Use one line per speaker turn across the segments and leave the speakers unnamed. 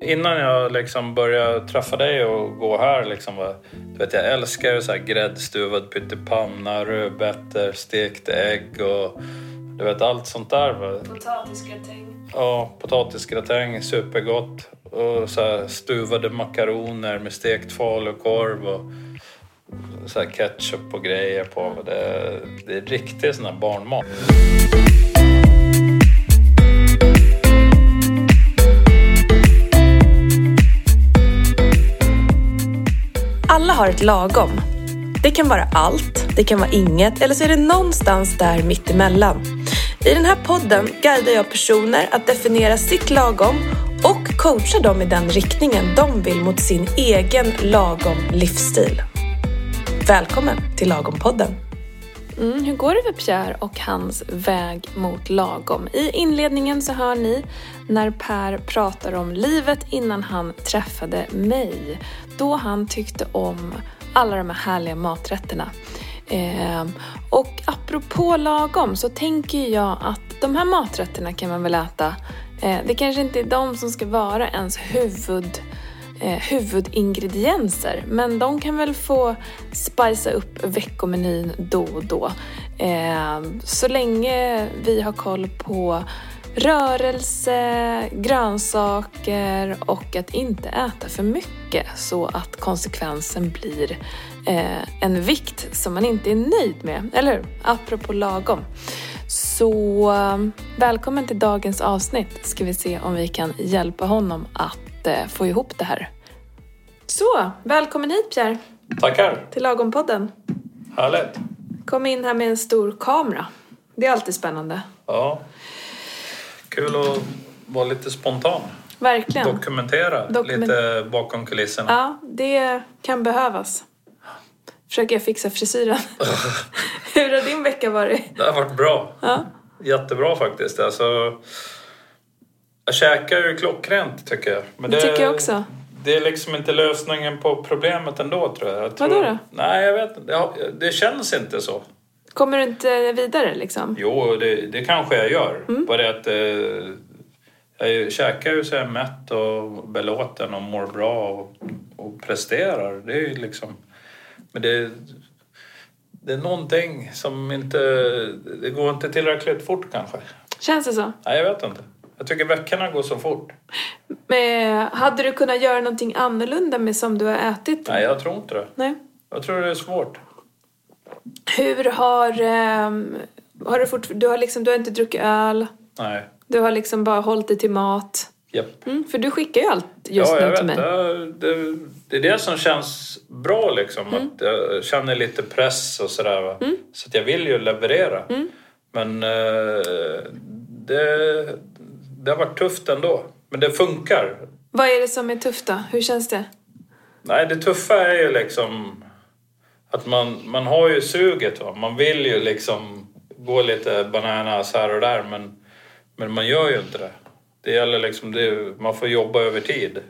innan jag liksom började träffa dig och gå här liksom. va, Du vet, jag älskar ju så här gräddstuvad pyttipanna, rödbetor, stekt ägg och du vet allt sånt där. Va.
Potatisgratäng.
Ja, potatisgratäng, supergott. Och så här stuvade makaroner med stekt falukorv och så här ketchup och grejer på. Det är, det är riktig sån här barnmat.
Alla har ett lagom. Det kan vara allt, det kan vara inget eller så är det någonstans där mittemellan. I den här podden guidar jag personer att definiera sitt lagom och coachar dem i den riktningen de vill mot sin egen lagom livsstil. Välkommen till Lagom-podden! Mm, hur går det för Pierre och hans väg mot lagom? I inledningen så hör ni när Per pratar om livet innan han träffade mig. Då han tyckte om alla de här härliga maträtterna. Ehm, och apropå lagom så tänker jag att de här maträtterna kan man väl äta. Eh, det kanske inte är de som ska vara ens huvud eh, huvudingredienser. Men de kan väl få spicea upp veckomenyn då och då. Eh, så länge vi har koll på rörelse, grönsaker och att inte äta för mycket så att konsekvensen blir eh, en vikt som man inte är nöjd med. Eller hur? Apropå lagom. Så eh, välkommen till dagens avsnitt ska vi se om vi kan hjälpa honom att eh, få ihop det här. Så, välkommen hit Pierre
Tackar!
till Lagompodden.
Härligt!
Kom in här med en stor kamera. Det är alltid spännande.
Ja. Kul att vara lite spontan.
Verkligen.
Dokumentera
Dokumen-
lite bakom kulisserna.
Ja, det kan behövas. Försöker jag fixa frisyren. Hur har din vecka varit?
Det har varit bra.
Ja.
Jättebra faktiskt. Alltså, jag käkar ju klockrent tycker jag. Men
Det tycker jag också.
Det är liksom inte lösningen på problemet ändå tror jag. jag tror,
Vadå då?
Nej, jag vet inte. Ja, Det känns inte så.
Kommer du inte vidare liksom?
Jo, det, det kanske jag gör. Bara det att eh, jag är- käkar ju så jag är mätt och belåten och mår bra och, och presterar. Det är ju liksom... Men det, det är någonting som inte... Det går inte tillräckligt fort kanske.
Känns det så?
Nej, jag vet inte. Jag tycker veckorna går så fort.
Men, Eh, hade du kunnat göra någonting annorlunda med som du har ätit?
Nej, jag tror inte det.
Nej.
Jag tror det är svårt.
Hur har... ehm, har du, fort, du, har liksom, du har inte druckit öl,
Nej.
du har liksom bara hållit dig till mat.
Japp.
Mm, för du skickar ju allt just
ja,
nu
jag
till
vet.
mig.
Det, det, det är det som känns bra liksom.
Mm.
Att jag känner lite press och sådär. Va? Så att jag vill ju leverera.
Mm.
Men eh, det, det har varit tufft ändå. Men det funkar.
Vad är det som är tufft då? Hur känns det?
Nej, det tuffa är ju liksom att man, man har ju suget. Va? Man vill ju liksom gå lite bananas här och där men, men man gör ju inte det. Det gäller liksom, det, man får jobba över tid.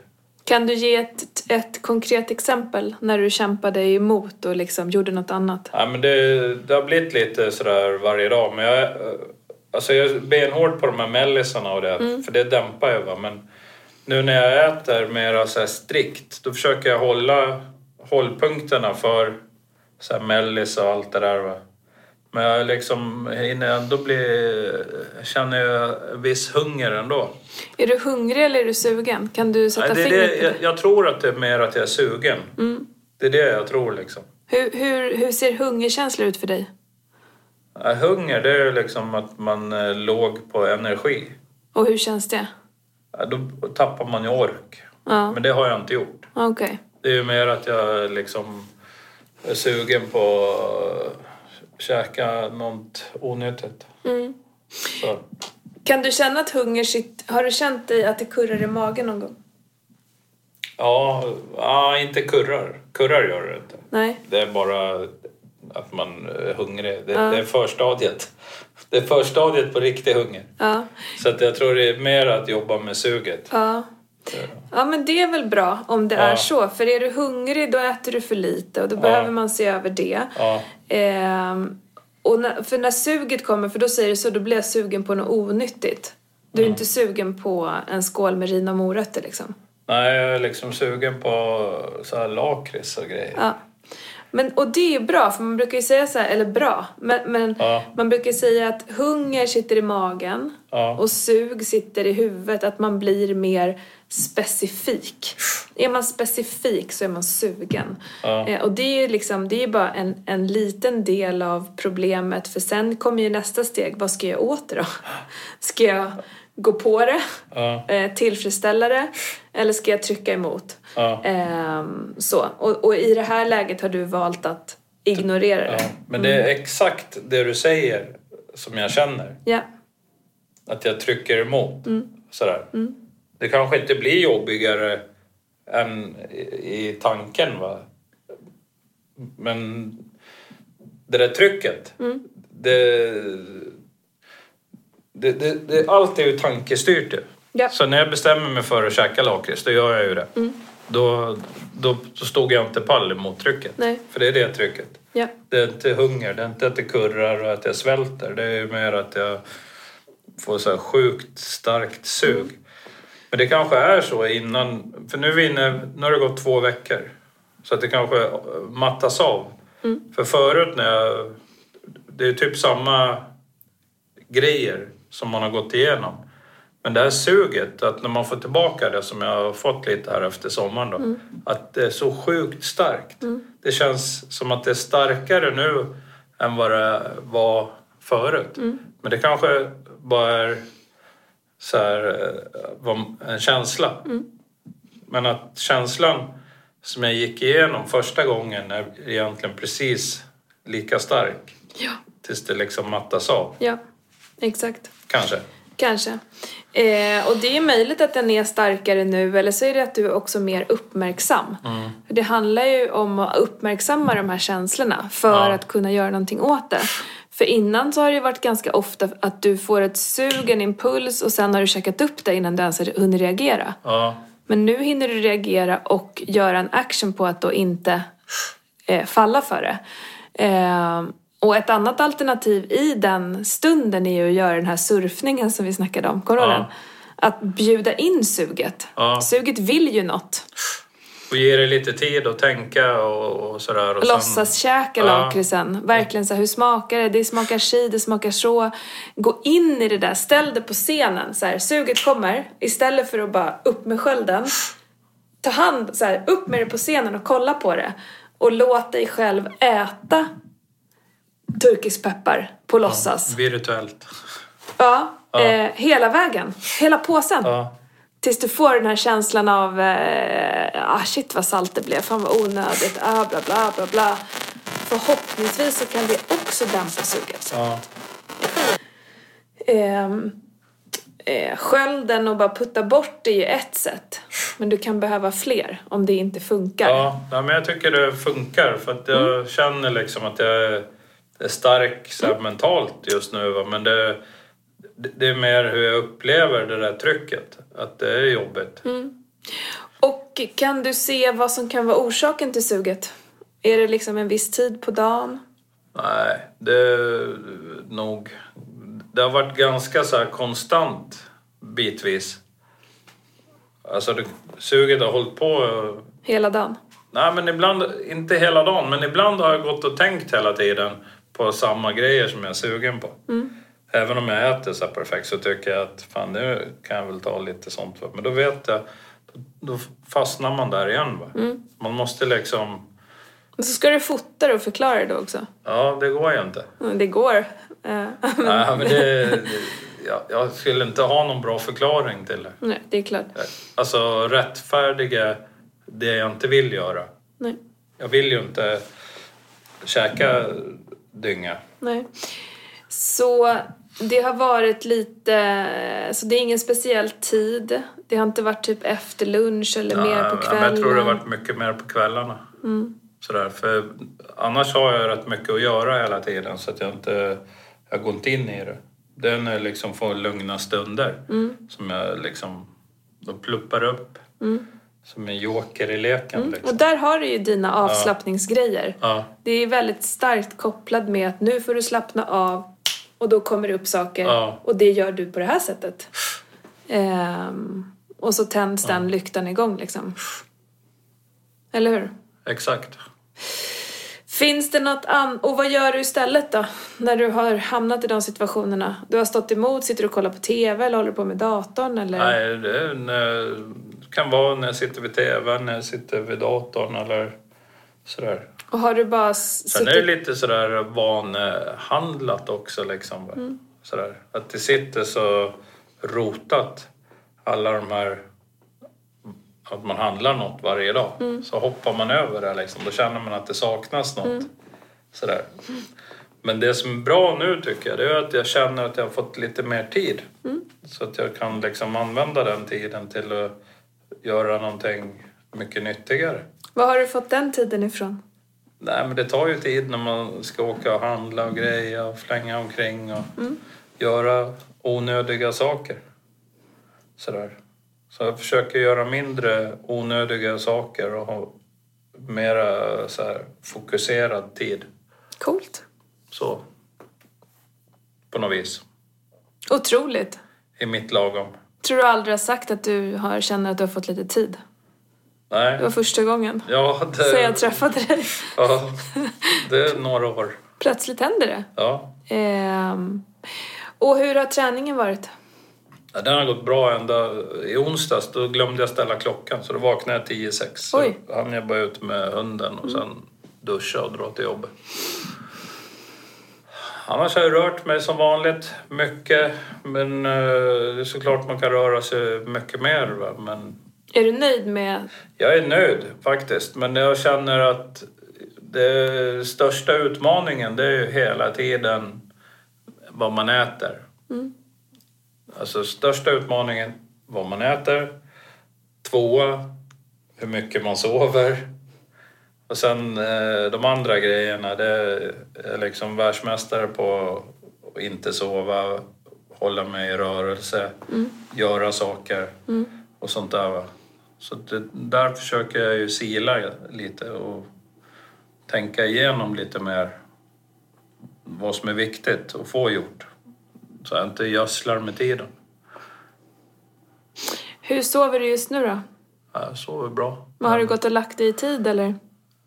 Kan du ge ett, ett konkret exempel när du kämpade emot och liksom gjorde något annat?
Ja, men det, det har blivit lite sådär varje dag. Men jag, eh, alltså jag är benhård på de här mellisarna och det,
Mm.
för det dämpar jag. Va? Men nu när jag äter mer så här strikt, då försöker jag hålla hållpunkterna för så här mellis och allt det där. Va? Men jag liksom hinner ändå bli... Känner jag viss hunger ändå.
Är du hungrig eller är du sugen? Kan du sätta
Nej, det är
fingret
det,
på det? Mm.
jag, jag tror att det är mer att jag är sugen. Det är det jag tror liksom.
Hur, hur, hur ser hungerkänslor ut för dig?
Ja, Hunger, det är ju liksom att man är låg på energi.
Och hur känns det?
Ja, Då tappar man ju ork.
Ja,
Men det har jag inte gjort.
okej.
Det är ju mer att jag liksom är sugen på att käka något onyttigt.
Mm.
Så.
Kan du känna att hunger sitt... Har du känt dig att det kurrar i magen någon gång?
Ja, ja, inte kurrar. Kurrar gör det inte.
Nej.
Det är bara att man är hungrig. Det, det är förstadiet. Det är förstadiet på riktig hunger.
Ja.
Så att jag tror det är mer att jobba med suget.
Ja. Ja men det är väl bra om det
Ja.
är så. För är du hungrig då äter du för lite och då behöver man se över det.
Ja.
Ehm, och när, för när suget kommer, för då säger du så, då blir jag sugen på något onyttigt. Du är inte sugen på en skål med rina morötter liksom.
Nej, jag är liksom sugen på så här lakrits och grejer.
Ja. Men, och det är ju bra, för man brukar ju säga så här, eller bra, men, men
Ja.
man brukar ju säga att hunger sitter i magen
Ja.
och sug sitter i huvudet, att man blir mer specifik. Är man specifik så är man sugen.
Ja.
Eh, och det är ju liksom, det är ju bara en, en liten del av problemet, för sen kommer ju nästa steg, vad ska jag åt det då? Ska jag gå på det?
Ja.
Eh, tillfredsställa det? Eller ska jag trycka emot?
Ja.
Ehm, så. Och, och i det här läget har du valt att ignorera
Ja.
det.
Men det är exakt det du säger som jag känner.
Ja.
Att jag trycker emot.
Mm.
Sådär. Det kanske inte blir jobbigare än i, i tanken. Va? Men det där trycket.
Mm.
Det, det, det, det, allt är ju tankestyrt. ju.
Ja. Mm.
Så när jag bestämmer mig för att käka lakrits, då gör jag ju det. Då, då, då stod jag inte pall emot trycket.
Nej.
För det är det trycket.
Ja.
Det är inte hunger, det är inte att det kurrar och att jag svälter. Det är mer att jag får så här sjukt starkt sug. Men det kanske är så innan, för nu, är vi inne, nu har det gått två veckor. Så att det kanske eh, mattas av. För förut när jag, det är typ samma grejer som man har gått igenom. Men det här suget, att när man får tillbaka det som jag har fått lite här efter sommaren då. Att det är så sjukt starkt. Det känns som att det är starkare nu än vad det var förut. Men det kanske bara är så här, eh, var en känsla. Men att känslan som jag gick igenom första gången är egentligen precis lika stark.
Ja.
Tills det liksom mattas av,
Ja. Exakt.
kanske.
Kanske. Eh, och det är möjligt att den är starkare nu eller så är det att du är också mer uppmärksam. För det handlar ju om att uppmärksamma de här känslorna för
Ja.
att kunna göra någonting åt det. För innan så har det ju varit ganska ofta att du får ett sug, en impuls och sen har du checkat upp det innan du ens har hunnit reagera.
Ja,
Men nu hinner du reagera och göra en action på att då inte eh, falla för det. Eh, och ett annat alternativ i den stunden är ju att göra den här surfningen som vi snackade om. Kommer du ihåg
Ja.
den? Att bjuda in suget.
Ja.
Suget vill ju något.
och ge det lite tid att tänka och, och sådär. Och sen-
Låtsaskäka
Ja.
lakritsen. Verkligen så här, hur smakar det? Det smakar si, det smakar så. Gå in i det där, ställ det på scenen. Så här, suget kommer. Istället för att bara upp med skölden. Ta hand, så här, upp med det på scenen och kolla på det. Och låt dig själv äta turkisk peppar på låtsas.
Virtuellt.
Ja, Eh, hela vägen. Hela påsen.
Ja,
Tills du får den här känslan av eh, ah, shit vad salt det blev, fan vad onödigt, ah, bla bla bla bla. Förhoppningsvis så kan det också dämpa suget.
ja,
Ehm, eh, skölden och bara putta bort det är ju ett sätt. Men du kan behöva fler om det inte funkar.
ja. Nej, men jag tycker det funkar för att jag känner liksom att jag är- är stark så här, mentalt just nu. Va? Men det, det är mer hur jag upplever det där trycket, att det är jobbigt.
Och kan du se vad som kan vara orsaken till suget? Är det liksom en viss tid på dagen?
Nej, det är nog... Det har varit ganska så här konstant bitvis. Alltså det, suget har hållit på
Hela dagen?
Nej, men ibland, inte hela dagen, men ibland har jag gått och tänkt hela tiden på samma grejer som jag är sugen på. Även om jag äter så här perfekt så tycker jag att fan nu kan jag väl ta lite sånt. va. Men då vet jag, då, då fastnar man där igen. Va? Man måste liksom,
Men så ska du fota det och förklara det då också.
ja det går ju inte.
Mm, Det går. Eh,
Nej, men det, det, jag, jag skulle inte ha någon bra förklaring till det.
Nej, det är klart.
Alltså rättfärdiga det jag inte vill göra.
Nej.
Jag vill ju inte käka dynga.
Nej. Så det har varit lite, så det är ingen speciell tid. Det har inte varit typ efter lunch eller mer på
Ja, men
kvällen.
Jag tror det har varit mycket mer på kvällarna. Sådär, för annars har jag rätt mycket att göra hela tiden så att jag inte jag går inte in i det. Det är när jag liksom får lugna stunder som jag liksom då pluppar upp som en joker i leken. Liksom.
Och där har du ju dina avslappningsgrejer.
Ja,
Det är väldigt starkt kopplad med att nu får du slappna av och då kommer det upp saker
Ja.
och det gör du på det här sättet. Ehm, Och så tänds den lyktan igång liksom. Eller hur?
Exakt.
Finns det något annat? Och vad gör du istället då? När du har hamnat i de situationerna? Du har stått emot, sitter du och kollar på TV eller håller du på med datorn eller?
Nej, det är en, eh, kan vara när jag sitter vid tvn, när jag sitter vid datorn eller sådär.
Och har du bara s-
Sen är det
suttit...
lite sådär vanhandlat också liksom. Sådär. Att det sitter så rotat, alla de här... Att man handlar något varje dag. Så hoppar man över det liksom. Då känner man att det saknas något. Sådär. Men det som är bra nu tycker jag, det är att jag känner att jag har fått lite mer tid. Så att jag kan liksom använda den tiden till att göra någonting mycket nyttigare.
Var har du fått den tiden ifrån?
Nej, men det tar ju tid när man ska åka och handla och greja och flänga omkring och göra onödiga saker. Sådär. Så jag försöker göra mindre onödiga saker och ha mera så här, fokuserad tid.
Coolt.
Så. På något vis.
Otroligt.
I mitt lagom.
Tror du aldrig har sagt att du har, känner att du har fått lite tid?
Nej.
Det var första gången.
Ja, det,
Sen jag träffade dig.
ja, det är några år.
Plötsligt händer det.
Ja.
Ehm. Och hur har träningen varit?
Ja, Den har gått bra ända i onsdags. Då glömde jag ställa klockan så då vaknade jag 10 sex. Så
Oj.
hann jag bara ut med hunden och sen duscha och dra till jobbet. Annars har jag rört mig som vanligt mycket. Men eh, det är såklart man kan röra sig mycket mer. Va? Men
Är du nöjd med...
jag är nöjd faktiskt. Men jag känner att det största utmaningen det är ju hela tiden vad man äter. Alltså största utmaningen vad man äter. Tvåa, hur mycket man sover. Och sen eh, de andra grejerna. Det är liksom världsmästare på att inte sova, hålla mig i rörelse, göra saker och sånt där. Va? Så det, där försöker jag ju sila lite och tänka igenom lite mer vad som är viktigt att få gjort. Så jag inte gödslar med tiden.
Hur sover du just nu då?
Jag sover bra.
Men har du gått och lagt dig i tid eller?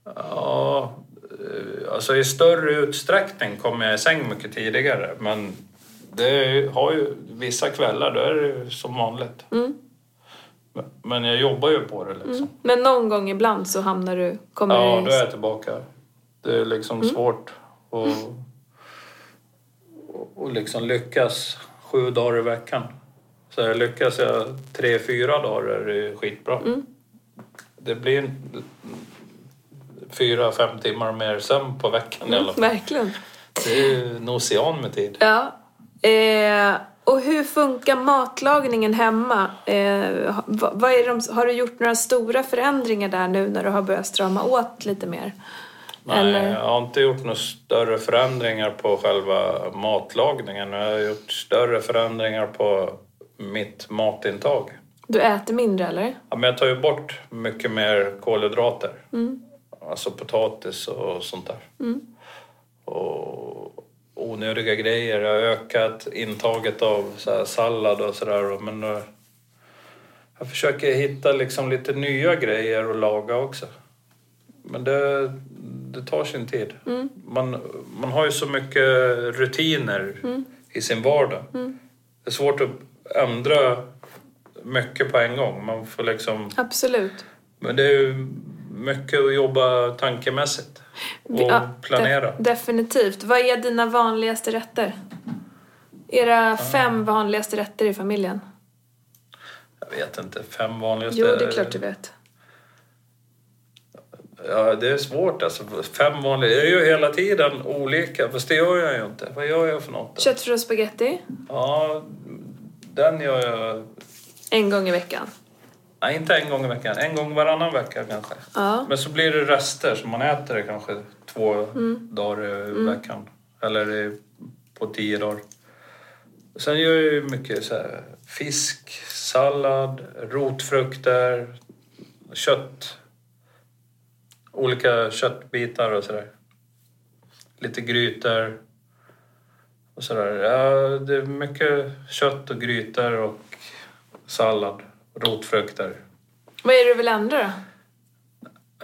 Ja, eh, alltså i större utsträckning kommer jag i säng mycket tidigare. Men det är ju- har ju vissa kvällar, då är det ju som vanligt. Men- Men jag jobbar ju på det liksom.
Men någon gång ibland så hamnar du... Kommer
Ja,
du...
då är jag tillbaka. Det är liksom
Mm.
svårt att och- och liksom lyckas sju dagar i veckan. Så jag lyckas jag tre, fyra dagar är det skitbra.
Mm.
Det blir en- fyra, fem timmar mer sömn på veckan i alla fall.
Mm. Verkligen.
Det är ju en ocean med tid.
Ja. Eh, och hur funkar matlagningen hemma? Eh, ha- vad, vad är de, har du gjort några stora förändringar där nu när du har börjat strama åt lite mer?
Nej,
Eller?
jag har inte gjort några större förändringar på själva matlagningen. Jag har gjort större förändringar på mitt matintag.
Du äter mindre eller?
Ja, men jag tar ju bort mycket mer kolhydrater. Alltså potatis och sånt där. Och onödiga grejer. Jag har ökat intaget av så här sallad och sådär. Men eh, jag försöker hitta liksom lite nya grejer att laga också. Men det, det tar sin tid. Man, man har ju så mycket rutiner i sin vardag. Det är svårt att ändra mycket på en gång. Man får liksom...
Absolut.
Men det är ju mycket att jobba tankemässigt och
Ja,
planera.
De, definitivt. Vad är dina vanligaste rätter? Era fem vanligaste rätter i familjen?
Jag vet inte, fem vanligaste...
Jo, det är klart du vet.
Ja, det är svårt alltså. Fem vanliga... Jag gör ju hela tiden olika, fast det gör jag ju inte. Vad gör jag för något? då?
Köttfärssås och spagetti
Ja, den gör jag...
en gång i veckan.
Nej, inte en gång i veckan. En gång varannan vecka kanske.
Ja.
Men så blir det rester, så man äter det kanske två dagar i veckan. Eller i- på tio dagar. Sen gör jag ju mycket så här, fisk, sallad, rotfrukter, kött. Olika köttbitar och sådär. Lite grytor. Och sådär. Ja, det är mycket kött och grytor och sallad. Rotfrukter.
Vad är det du vill ändra då?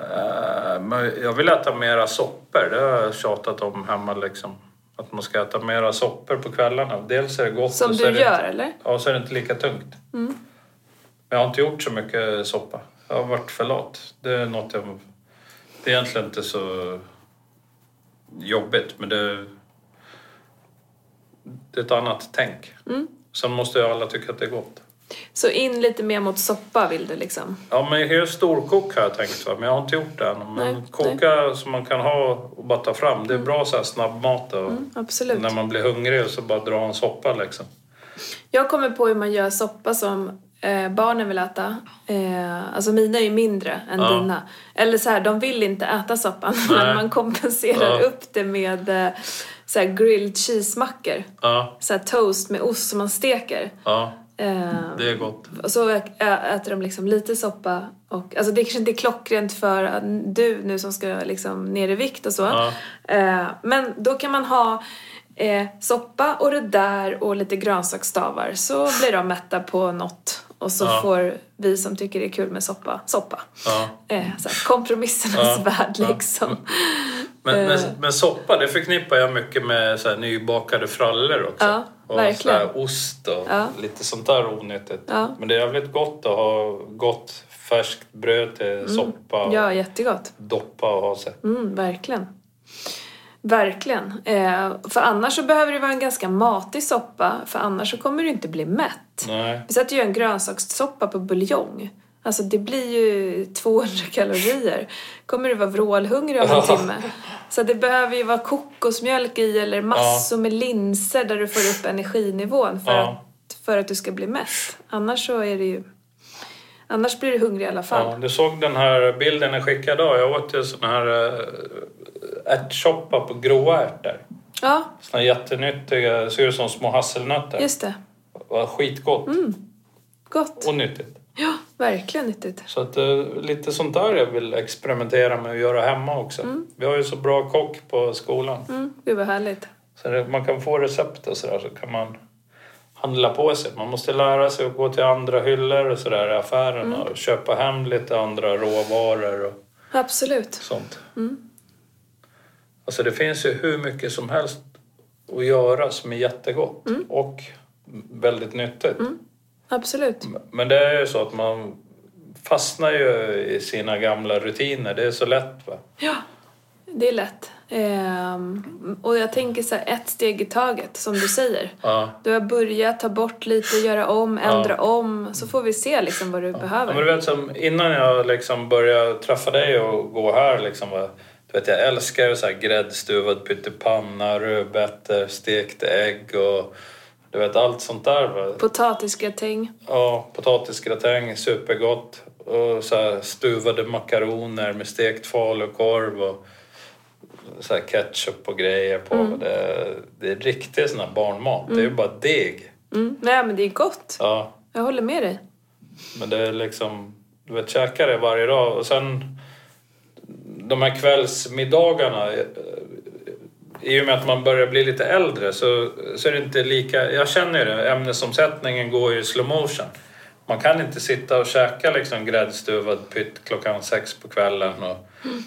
Eh, men jag vill äta mera soppor. Det har jag tjatat om hemma liksom. Att man ska äta mera soppor på kvällarna. Dels är det gott
Som
och så
du
är det
gör
inte,
eller? Mm.
Ja, så är det inte lika tungt. Men jag har inte gjort så mycket soppa. Jag har varit för lat. Det är något jag... Det är egentligen inte så jobbigt, men det... Det är ett annat tänk.
Mm.
Sen måste ju alla tycka att det är gott.
Så in lite mer mot soppa vill du liksom?
Ja, men jag är storkok har jag tänkt, va? men jag har inte gjort det än. Men
Nej, Mm.
koka som man kan ha och bara ta fram, det är bra så här snabbmat. Och
Absolut.
När man blir hungrig och så bara dra en soppa liksom.
Jag kommer på hur man gör soppa som eh, barnen vill äta. Eh, alltså mina är ju mindre än
Ja.
dina. Eller så här, de vill inte äta soppan
Nej.
men man kompenserar
Ja.
upp det med eh, så här grilled cheese-mackor.
Ja,
Så här toast med ost som man steker.
ja,
Eh,
det är gott.
och så ä- ä- äter de liksom lite soppa och alltså det kanske inte är klockrent för att du nu som ska liksom ner i vikt och så.
Ja.
Eh, men då kan man ha eh, soppa och det där och lite grönsaksstavar så blir de mätta på något och så
Ja.
får vi som tycker det är kul med soppa, soppa.
Ja.
Eh, så här, kompromissernas
Ja.
värld
Ja.
liksom.
Men,
Eh.
men, men soppa, det förknippar jag mycket med så här, nybakade frallor också.
Ja,
och
verkligen.
Så här, ost och
Ja.
lite sånt där onyttigt.
Ja.
Men det är jävligt gott att ha gott färskt bröd till soppa och
Mm. Ja, jättegott.
doppa och ha sig.
Mm, verkligen. Verkligen. Eh, för annars så behöver det vara en ganska matig soppa, för annars så kommer du inte bli mätt.
Nej.
Vi satt ju en grönsakssoppa på buljong. Alltså det blir ju 200 kalorier. Kommer du vara vrålhungrig om en
Ja.
timme? Så det behöver ju vara kokosmjölk i eller massor med linser där du får upp energinivån för,
Ja.
att, för att du ska bli mätt. Annars så är det ju... Annars blir du hungrig i alla fall.
Ja, du såg den här bilden jag skickade idag. Jag åt ju sån här eh, ärtsoppa på gråa ärtor.
Ja,
Såna här jättenyttiga, ser ut som små hasselnötter.
just det.
Var skitgott
Gott.
och nyttigt.
Ja, verkligen nyttigt.
Så att, eh, lite sånt där jag vill experimentera med att göra hemma också. Vi har ju så bra kock på skolan.
Mm, gud vad härligt.
Så det, man kan få recept och sådär så kan man handla på sig. Man måste lära sig att gå till andra hyllor och sådär i affären och köpa hem lite andra råvaror och
Absolut.
sånt. Alltså det finns ju hur mycket som helst att göra som är jättegott och väldigt nyttigt.
Absolut.
Men det är ju så att man fastnar ju i sina gamla rutiner. Det är så lätt va?
Ja, det är lätt. Ehm, och jag tänker så här, ett steg i taget, som du säger.
Ja.
Du har börjat ta bort lite, göra om, ändra om. Så får vi se liksom vad du
Ja, men
behöver.
du vet, som innan jag liksom började träffa dig och gå här liksom, va, du vet, jag älskar så här gräddstuvad pyttipanna, rödbetor, stekta ägg och du vet, allt sånt där. Va?
Potatisgratäng.
Ja, potatisgratäng, supergott. Och så här stuvade makaroner med stekt falukorv och så här ketchup och grejer på. Det, det är riktigt sån här barnmat. Det är ju bara deg.
Mm. Nej, men det är gott.
Ja,
Jag håller med dig.
men det är liksom... Du vet, käka det varje dag. Och sen de här kvällsmiddagarna. eh, I och med att man börjar bli lite äldre så, så är det inte lika... Jag känner ju det, ämnesomsättningen går ju i slow motion. Man kan inte sitta och käka liksom gräddstuvad pytt klockan sex på kvällen och,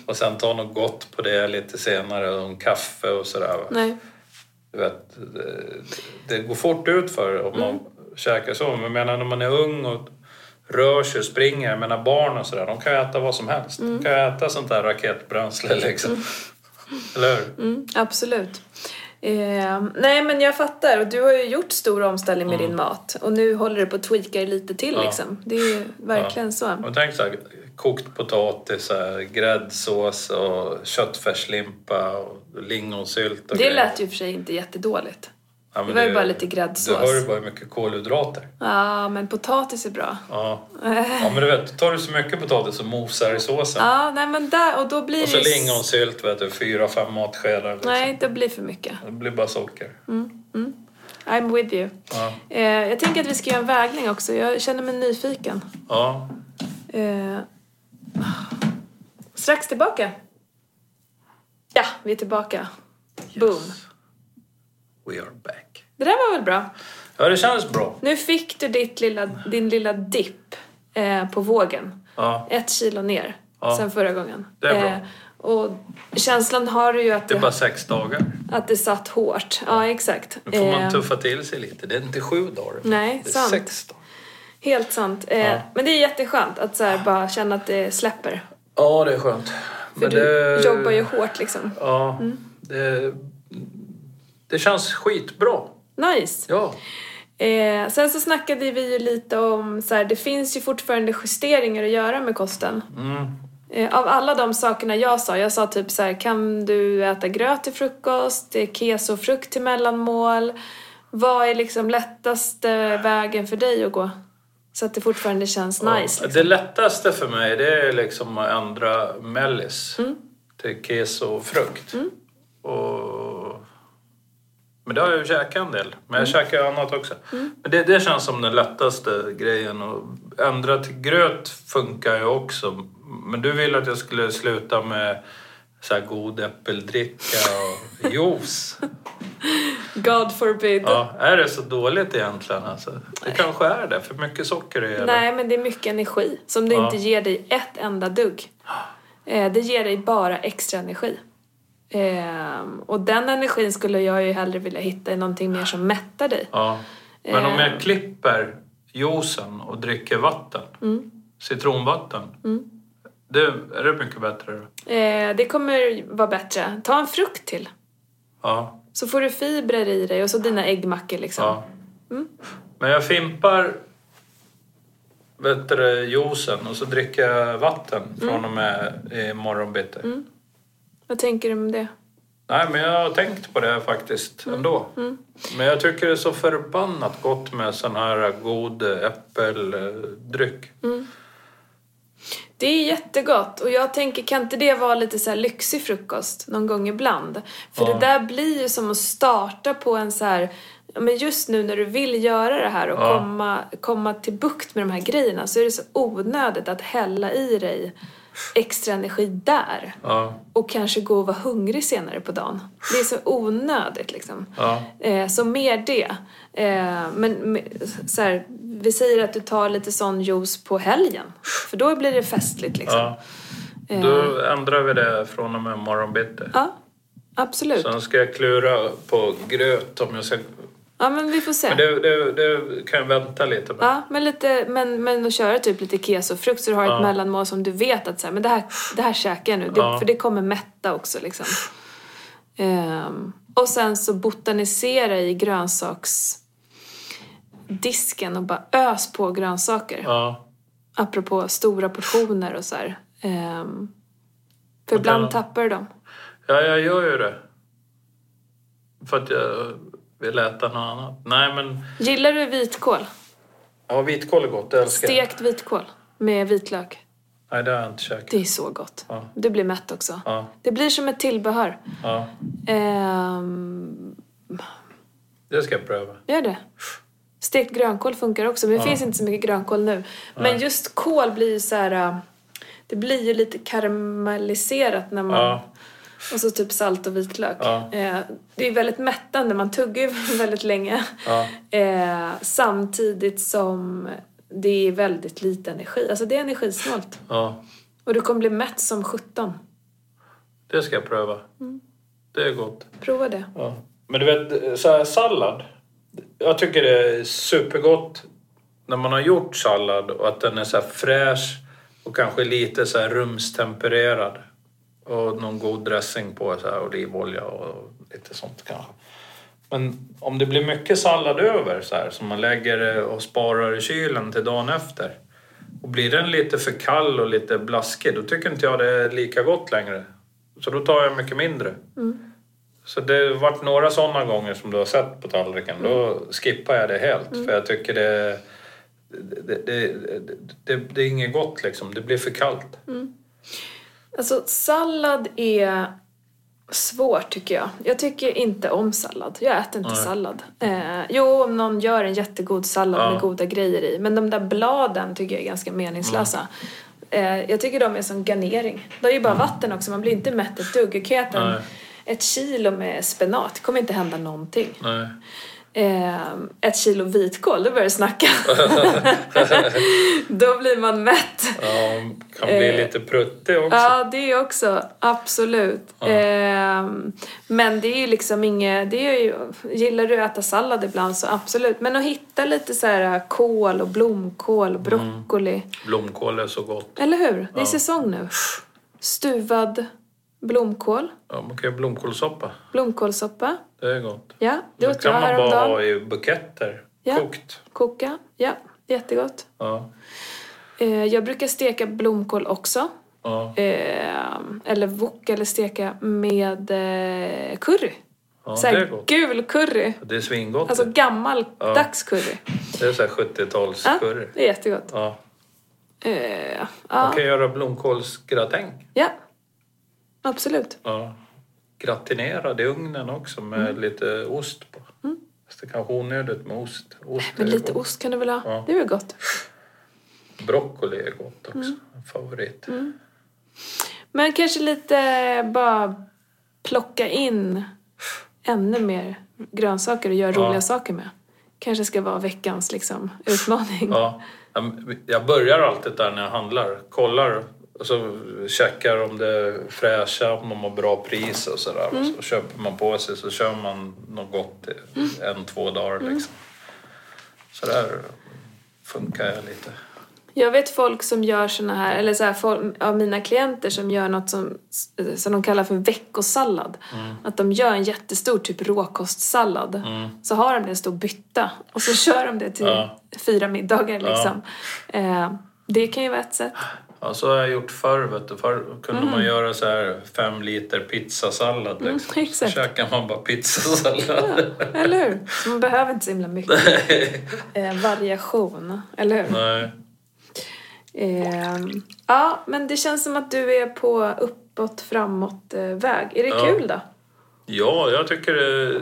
och sen ta något gott på det lite senare, och en kaffe och sådär. va
Nej.
du vet, det, det går fort ut för
Mm.
om man käkar så. Men jag menar när man är ung och rör sig och springer, jag menar barn och sådär, de kan ju äta vad som helst.
Mm.
De kan ju äta sånt där raketbränsle liksom. Eller hur?
Mm, absolut. Eh, nej men jag fattar och du har ju gjort stor omställning med din mat och nu håller du på att tweaka det lite till
Mm. Ja.
liksom. Det är ju verkligen så.
Men tänk så här, kokt potatis, så här, gräddsås och köttfärslimpa och lingonsylt och
Det
grejer.
lät ju för sig inte jättedåligt.
Ja, men
det var ju bara lite gräddsås.
Du hör ju bara hur mycket kolhydrater.
Ja, men potatis är bra.
Ja. ja, men du vet, tar du så mycket potatis så mosar i såsen.
Ja, nej men där och då blir
Och så
det...
lingonsylt, vet du, fyra, fem matskedar. Liksom.
Nej, det blir för mycket.
Det blir bara socker.
I'm with you.
Ja.
Eh, jag tänker att vi ska göra en vägning också. Jag känner mig nyfiken.
ja.
Eh, strax tillbaka. Ja, vi är tillbaka. Boom.
We are back.
Det där var väl bra?
Ja, det känns bra.
Nu fick du ditt lilla, din lilla dipp. eh, på vågen.
Ja.
Ett kilo ner
Ja.
sen förra gången.
Det är bra.
Eh, och känslan har du ju att
Det är
det,
bara sex dagar.
att det satt hårt. Ja, exakt.
Nu får
Eh,
man tuffa till sig lite. Det är inte sju dagar.
Nej,
det är
sant.
sex dagar.
Helt sant. Eh,
Ja.
Men det är jätteskönt att så här, bara känna att det släpper.
Ja, det är skönt.
För du jobbar ju hårt liksom.
Ja, det, det känns skitbra.
Nice!
Ja.
Eh, sen så snackade vi ju lite om så här, det finns ju fortfarande justeringar att göra med kosten. Eh, av alla de sakerna jag sa, jag sa typ så här, kan du äta gröt till frukost, eh, keso och frukt till mellanmål? Vad är liksom lättaste vägen för dig att gå? Så att det fortfarande känns nice.
Det lättaste för mig det är liksom att ändra mellis till keso och frukt. Och... Men det har jag ju käkat en del. Men jag käkar ju annat också. Men det, det känns som den lättaste grejen. Och ändra till gröt funkar ju också. Men du ville att jag skulle sluta med så här god äppeldricka och juice.
God forbid.
Ja, är det så dåligt egentligen? Alltså, det kanske är det, för mycket socker är det.
Nej, men det är mycket energi som det
Ja.
inte ger dig ett enda dugg. Eh, det ger dig bara extra energi. Ehm, och den energin skulle jag ju hellre vilja hitta i någonting mer som mättar dig.
Ja. Men om
Eh.
jag klipper juicen och dricker vatten, citronvatten, det, är det mycket bättre då?
Eh, det kommer vara bättre. Ta en frukt till.
Ja,
Så får du fibrer i dig och så dina äggmackor liksom.
ja. Men jag fimpar bättre juicen och så dricker jag vatten från och med imorgon bitti.
Vad tänker du om det?
Nej, men jag har tänkt på det faktiskt ändå. Men jag tycker det är så förbannat gott med sån här god eh, äppeldryck.
Det är jättegott och jag tänker kan inte det vara lite så här lyxig frukost någon gång ibland? För
Ja.
det där blir ju som att starta på en så här ja, men just nu när du vill göra det här och
Ja.
komma, komma till bukt med de här grejerna så är det så onödigt att hälla i dig extra energi där.
Ja,
Och kanske gå och vara hungrig senare på dagen. Det är så onödigt liksom.
ja,
Eh, så mer det. Eh, men men, så här, vi säger att du tar lite sån juice på helgen. För då blir det festligt liksom.
ja.
Eh,
Då ändrar vi det från och med imorgon bitti.
ja absolut.
Sen ska jag klura på gröt om jag ska...
Ja, men vi får se.
Men det, det, det kan jag vänta lite med.
Ja, men, lite, men, men att köra typ lite kesofrukt så du har ett mellanmål som du vet att så här, men det här, det här käkar jag nu. Det,
Ja.
För det kommer mätta också liksom. Ehm, och sen så botanisera i grönsaksdisken och bara ös på grönsaker.
Ja.
Apropå stora portioner och så här. Ehm, för
Och
ibland
den-
tappar du dem.
ja, jag gör ju det. För att jag vill äta något annat. Nej, men...
Gillar du vitkål?
Ja, vitkål är gott. Det älskar jag.
Stekt vitkål med vitlök.
Nej, det har jag inte käkat.
Det är så gott.
Ja.
Du blir mätt också.
Ja,
Det blir som ett tillbehör.
ja.
Ehm,
Det ska jag pröva.
gör det. Stekt grönkål funkar också, men det finns inte så mycket grönkål nu. Men just kål blir ju så här... äh, Det blir ju lite karamelliserat när man...
Ja.
Och så typ salt och vitlök.
Ja.
Eh, det är väldigt mättande, man tuggar ju väldigt länge.
Ja.
Eh, samtidigt som det är väldigt lite energi. Alltså det är energisnålt.
Ja,
Och du kommer bli mätt som 17.
det ska jag pröva.
Mm.
Det är gott.
Prova det.
Ja. Men du vet, så här, sallad. Jag tycker det är supergott när man har gjort sallad och att den är så här fräsch och kanske lite så här rumstempererad. Och någon god dressing på, så här olivolja och lite sånt kanske. Men om det blir mycket sallad över så här som man lägger det och sparar i kylen till dagen efter. Och blir den lite för kall och lite blaskig då tycker inte jag det är lika gott längre. Så då tar jag mycket mindre. Så det har varit några sådana gånger som du har sett på tallriken. Då
Mm.
skippar jag det helt för jag tycker det, det, det, det, det, det är inget gott liksom. Det blir för kallt.
Mm. Alltså sallad är svårt tycker jag. Jag tycker inte om sallad. Jag äter inte
Nej.
sallad. Eh, jo, om någon gör en jättegod sallad
Ja.
med goda grejer i. Men de där bladen tycker jag är ganska meningslösa.
Mm.
Eh, jag tycker de är som garnering. De är ju bara vatten också, man blir inte mätt ett dugg. Jag kan äta en-
Nej.
ett kilo med spenat, det kommer inte hända någonting.
Nej.
eh, ett kilo vitkål, då börjar du snacka. då blir man mätt.
Ja, kan bli
Eh,
lite pruttig också.
Ja, det också. Absolut. Ehm, men det är ju liksom inget... Det är ju, gillar du att äta sallad ibland så absolut. Men att hitta lite så här äh, kål och blomkål och
Mm.
broccoli.
Blomkål är så gott.
Eller hur? Det är säsong nu. Stuvad blomkål.
Ja, man kan göra blomkålssoppa.
blomkålssoppa.
Det är gott.
Ja, det
Det
åt jag
kan man bara
häromdagen.
ha i buketter.
Ja.
Kokt.
Koka. Ja, jättegott.
Ja.
Eh, jag brukar steka blomkål också.
Ja.
Eh, eller wok eller steka med eh, curry.
Ja,
så här
det är gott.
gul curry.
Det är svingott.
Alltså gammaldags curry.
Det är så här
Ja,
70-talskurr.
det är jättegott.
Ja.
Eh,
Man
ja,
kan göra blomkålsgratäng.
ja, absolut.
Ja. Gratinerad i ugnen också med
Mm.
lite ost på. Fast det kanske är onödigt med ost. ost
Men
är
lite
gott.
ost kan du väl ha?
Ja.
Det är väl gott.
Broccoli är gott också.
Mm.
En favorit.
Men kanske lite eh, bara plocka in ännu mer grönsaker och göra
Ja.
roliga saker med. Kanske ska vara veckans liksom, utmaning.
Ja. Ja, men Jag börjar alltid där när jag handlar. Kollar och så checkar om det är fräscha, om de har bra pris och sådär.
Mm.
Och så köper man på sig så kör man något gott i en, två dagar
Mm.
liksom. Så där funkar jag lite.
Jag vet folk som gör såna här, eller så här, folk, av mina klienter som gör något som, som de kallar för veckosallad.
Mm.
Att de gör en jättestor typ råkostsallad. Så har de det i en stor bytta och så kör de det till
Ja.
fyra middagar liksom. Eh, det kan ju vara ett sätt.
Ja, så har jag gjort förr. Vet du. Förr kunde man göra så här fem liter pizzasallad. Liksom. så
exakt.
käkar man bara pizzasallad.
Eller hur? Så man behöver inte så himla mycket eh, variation, eller hur?
Nej.
Ehm, ja, men det känns som att du är på uppåt, framåt eh, väg. Är det
Ja.
kul då?
Ja, jag tycker det...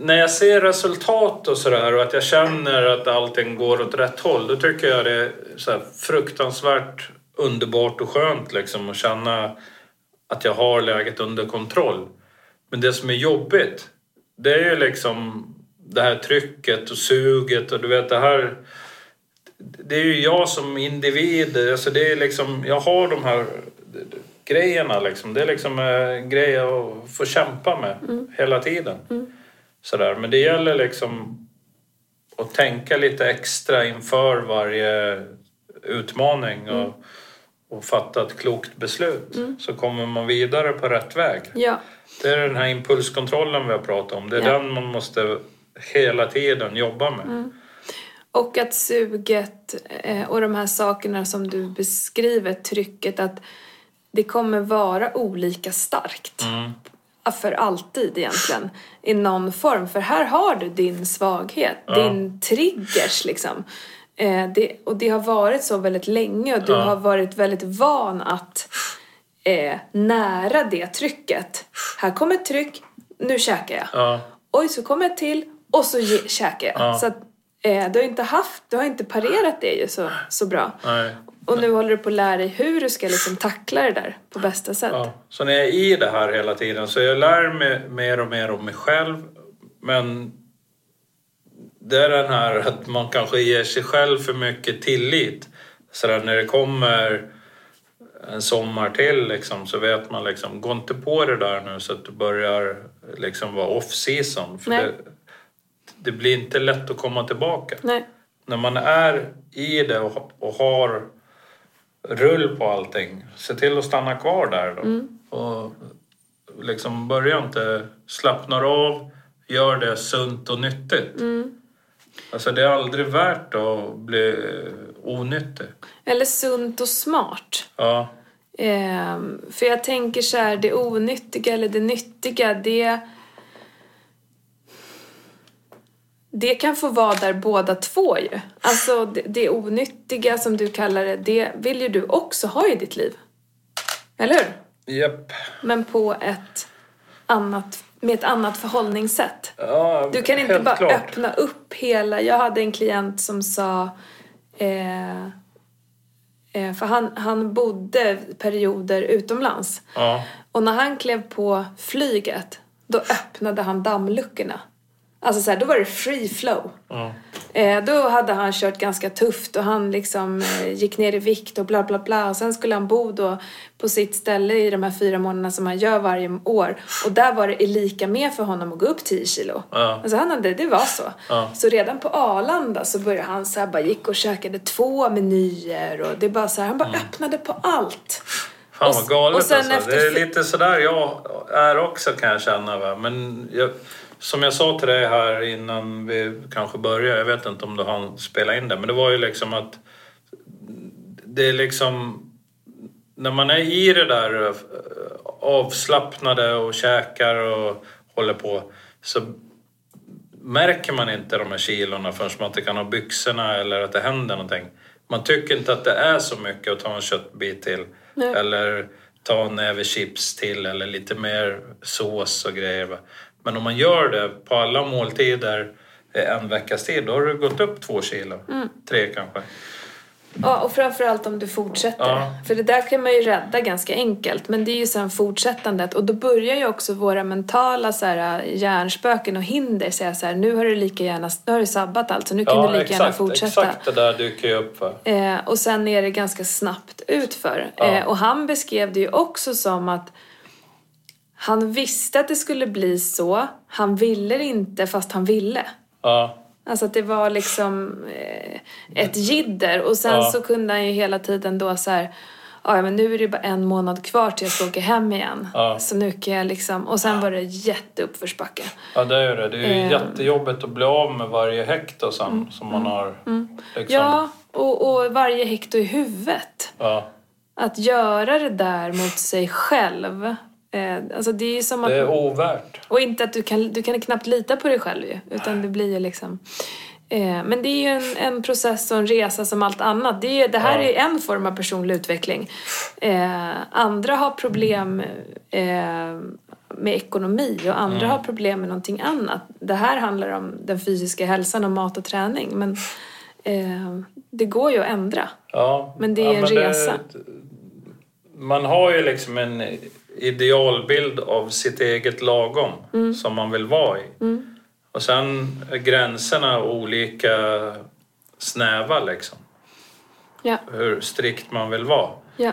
När jag ser resultat och sådär och att jag känner att allting går åt rätt håll då tycker jag det är så här fruktansvärt underbart och skönt liksom att känna att jag har läget under kontroll. Men det som är jobbigt det är ju liksom det här trycket och suget och du vet det här det är ju jag som individ. Alltså det är liksom, jag har de här grejerna. Liksom. Det är liksom en grej att få kämpa med
Mm.
hela tiden. Sådär. Men det gäller liksom att tänka lite extra inför varje utmaning
Mm.
och, och fatta ett klokt beslut. Så kommer man vidare på rätt väg.
Ja.
Det är den här impulskontrollen vi har pratat om. Det är
Ja. Mm.
den man måste hela tiden jobba med.
Och att suget eh, och de här sakerna som du beskriver, trycket, att det kommer vara olika starkt. Ja, För alltid egentligen, i någon form. För här har du din svaghet, din triggers liksom. Eh, det, och det har varit så väldigt länge och du har varit väldigt van att eh, nära det trycket. Här kommer ett tryck, nu käkar jag
Ja.
oj så kommer ett till och så ge, käkar jag. Så att, eh, du har inte haft, du har inte parerat det ju så, så bra.
Nej.
Och nu håller du på att lära dig hur du ska liksom tackla det där på bästa sätt.
Ja. Så när jag är i det här hela tiden så jag lär mig mer och mer om mig själv. Men det är den här att man kanske ger sig själv för mycket tillit. Så där, när det kommer en sommar till liksom, så vet man liksom, gå inte på det där nu så att du börjar liksom vara off season. För
Nej.
det, det blir inte lätt att komma tillbaka
Nej.
när man är i det och, och har rull på allting, se till att stanna kvar där då.
Mm.
Och liksom börja inte slappna av, gör det sunt och nyttigt.
Mm.
Alltså det är aldrig värt att bli onyttig.
Eller sunt och smart.
Ja,
Ehm, för jag tänker så här, det onyttiga eller det nyttiga, det... Det kan få vara där båda två ju. Alltså det, det onyttiga som du kallar det, det vill ju du också ha i ditt liv. Eller hur?
japp.
Men på ett annat, med ett annat förhållningssätt.
Ja,
Du kan inte
helt
bara
klart.
öppna upp hela... Jag hade en klient som sa... Eh, eh, för han, han bodde perioder utomlands.
Ja,
Och när han klev på flyget, då öppnade han dammluckorna. Alltså så här, då var det free flow.
Ja.
Eh, då hade han kört ganska tufft och han liksom eh, gick ner i vikt och bla bla bla. Och sen skulle han bo då på sitt ställe i de här fyra månaderna som han gör varje år. Och där var det lika med för honom att gå upp 10 kilo.
Ja.
Alltså han hade, det var så.
Ja.
Så redan på Arlanda så började han så här, bara gick och käkade två menyer och det bara så här, han
Mm.
bara öppnade på allt.
Fan
Och-
vad galet
och sen
alltså.
efter
Det är
fy-
lite sådär jag är också kan jag känna. Va? Men jag, som jag sa till dig här innan vi kanske började, jag vet inte om du hann spela in det, men det var ju liksom att det är liksom när man är i det där eh, avslappnade och käkar och håller på så märker man inte de här kilorna förrän man inte kan ha byxorna eller att det händer någonting. Man tycker inte att det är så mycket att ta en köttbit till
Nej.
eller ta en näve chips till eller lite mer sås och grejer. va. Men om man gör det på alla måltider eh, en veckas tid, då har du gått upp två kilo.
Mm.
Tre kanske.
Ja, och framförallt om du fortsätter.
Ja.
För det där kan man ju rädda ganska enkelt. Men det är ju sen fortsättandet. Och då börjar ju också våra mentala så här, hjärnspöken och hinder säga så här, nu har du lika gärna, nu har du sabbat allt, så nu kan du lika gärna fortsätta.
Exakt det där dyker ju upp. Va?
Eh, och sen är det ganska snabbt utför.
Ja.
Eh, och han beskrev det ju också som att han visste att det skulle bli så, han ville det inte fast han ville.
Ja.
Alltså att det var liksom eh, ett jidder och sen
Ja.
så kunde han ju hela tiden då så här "Ja, ja men nu är det bara en månad kvar till jag ska åka hem igen.
Ja.
Så nu kan jag liksom... Och sen var det jätteuppförsbacke.
Ja, det är ju det. Det är ju
Eh. Mm.
jättejobbigt att bli av med varje hektar sen som man har. Liksom.
Ja, och, och varje hekto i huvudet.
Ja.
Att göra det där mot sig själv. Eh, alltså det är ju som att...
Det är ovärt.
Och inte att du kan, du kan knappt lita på dig själv ju. Utan det blir ju liksom... Eh, men det är ju en, en process och en resa som allt annat. Det, är, ju- det här
Ja.
är ju en form av personlig utveckling. Eh, andra har problem eh, med ekonomi och andra
Mm.
har problem med någonting annat. Det här handlar om den fysiska hälsan och mat och träning. Men eh, det går ju att ändra.
Ja.
Men det är
ja,
en resa.
man har ju liksom en idealbild av sitt eget lagom
Mm.
som man vill vara i. Och sen är gränserna olika snäva liksom.
Ja,
Hur strikt man vill vara.
ja,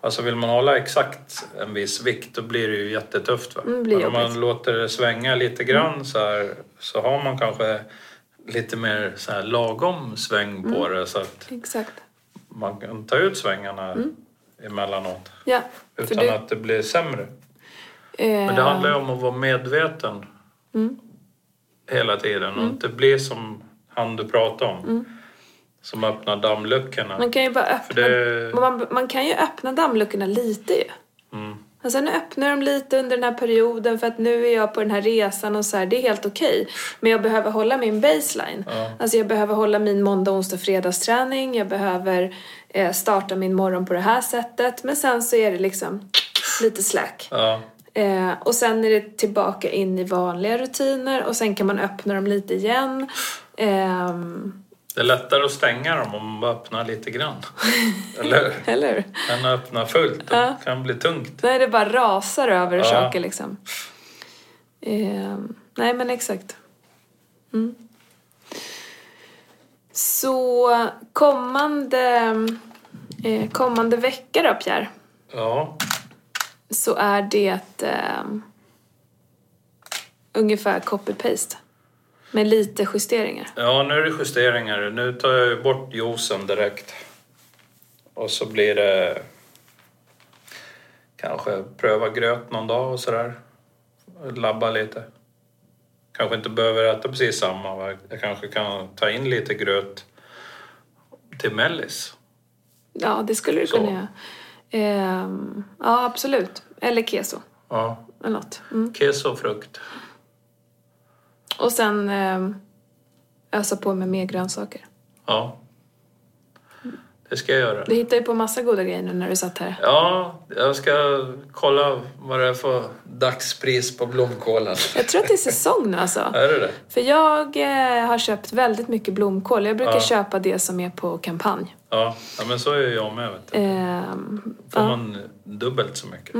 Alltså vill man hålla exakt en viss vikt då blir det ju jättetufft. Va?
Mm, det blir
Men om man
jobbigt. Mm.
låter det svänga lite grann så här så har man kanske lite mer så här lagom sväng
Mm.
på det så att
exakt.
man kan ta ut svängarna
Mm.
emellanåt
Ja,
utan att det blir sämre.
eh,
Men det handlar ju om att vara medveten
Mm.
hela tiden och inte bli som han du pratade om som öppnar dammluckorna.
Man Mm. kan ju bara öppna,
det-
man, man kan ju öppna dammluckorna lite ju.
Mm.
Alltså nu öppnar de lite under den här perioden för att nu är jag på den här resan och så här, det är helt okej. Men jag behöver hålla min baseline.
Ja.
Alltså jag behöver hålla min måndag, onsdag, fredagsträning. Jag behöver eh, starta min morgon på det här sättet. Men sen så är det liksom lite slack.
Ja.
Eh, och sen är det tillbaka in i vanliga rutiner och sen kan man öppna dem lite igen. Ehm,
Det är lättare att stänga dem om man bara öppnar lite grann. Eller hur?
eller hur?
Än att öppna fullt. Det
Ja.
kan bli tungt.
Nej, det bara rasar över
Ja.
saker liksom. Ehm, nej, men exakt. Mm. Så kommande, eh, kommande vecka då, Pierre,
Ja.
så är det ehm, ungefär copy-paste. Med lite justeringar.
ja, nu är det justeringar. Nu tar jag ju bort juicen direkt. Och så blir det... Kanske pröva gröt någon dag och sådär. Labba lite. Kanske inte behöver äta precis samma. va? Jag kanske kan ta in lite gröt till mellis.
Ja, det skulle du
Så.
kunna göra. Ehm, ja, absolut. Eller keso.
Ja.
Eller något. Mm.
Keso och frukt.
Och sen eh, ösa på med mer grönsaker.
Ja. Det ska jag göra.
Du hittar ju på massa goda grejer nu när du satt här.
Ja, jag ska kolla vad det är för dagspris på blomkålen.
Jag tror att det är säsong nu alltså.
Är det det?
För jag eh, har köpt väldigt mycket blomkål. Jag brukar
Ja.
köpa det som är på kampanj.
Ja, ja men så är jag med. Vet du.
Ehm,
Får
ja, Mm.
man dubbelt så mycket.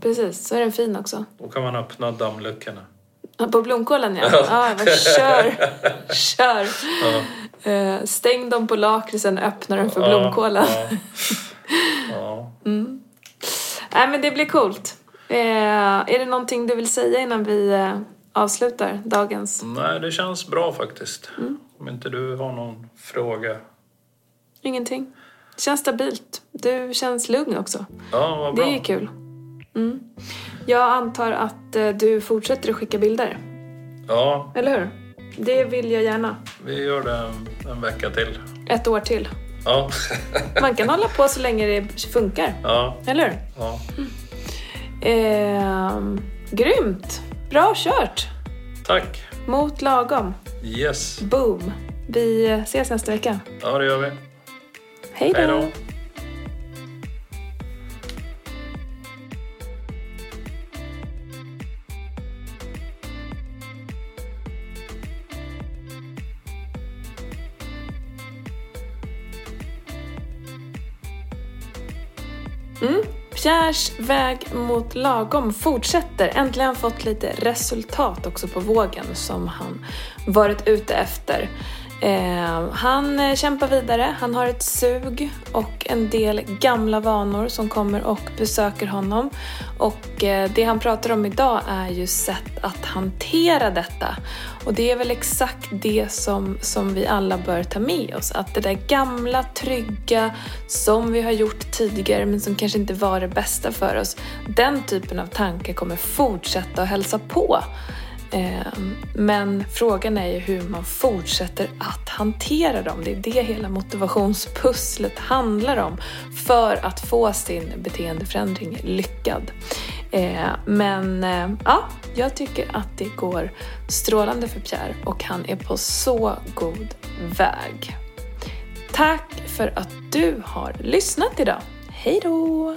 precis, så är den fin också.
Då kan man öppna dammluckorna.
Ja, På blomkålen ja. ja men kör! kör! Eh, Stäng dem på lakritsen, öppna dem för
Ja,
blomkålen.
ja. Ja.
Nej men det blir coolt. Eh, är det någonting du vill säga innan vi eh, avslutar dagens?
Nej, det känns bra faktiskt.
Mm.
Om inte du har någon fråga.
Ingenting. Det känns stabilt. Du känns lugn också.
Ja, vad
Det
bra.
är ju kul. Mm. Jag antar att eh, du fortsätter att skicka bilder,
Ja,
eller hur? Det vill jag gärna.
vi gör det en, en vecka till.
Ett år till.
Ja,
Man kan hålla på så länge det funkar,
ja,
eller hur?
ja.
Ehm, grymt! Bra kört!
Tack.
Mot lagom.
Yes.
Boom! Vi ses nästa vecka.
Ja, det gör vi.
Hej då!
Hej då.
Pierres väg mot lagom fortsätter. Äntligen fått lite resultat också på vågen som han varit ute efter. Eh, han eh, kämpar vidare, han har ett sug och en del gamla vanor som kommer och besöker honom. Och eh, det han pratar om idag är ju sätt att hantera detta. Och det är väl exakt det som, som vi alla bör ta med oss. Att det där gamla, trygga, som vi har gjort tidigare men som kanske inte var det bästa för oss. Den typen av tankar kommer fortsätta att hälsa på. Eh, Men frågan är ju hur man fortsätter att hantera dem. Det är det hela motivationspusslet handlar om för att få sin beteendeförändring lyckad. Eh, Men eh, ja, jag tycker att det går strålande för Pierre och han är på så god väg. Tack för att du har lyssnat idag. Hej då!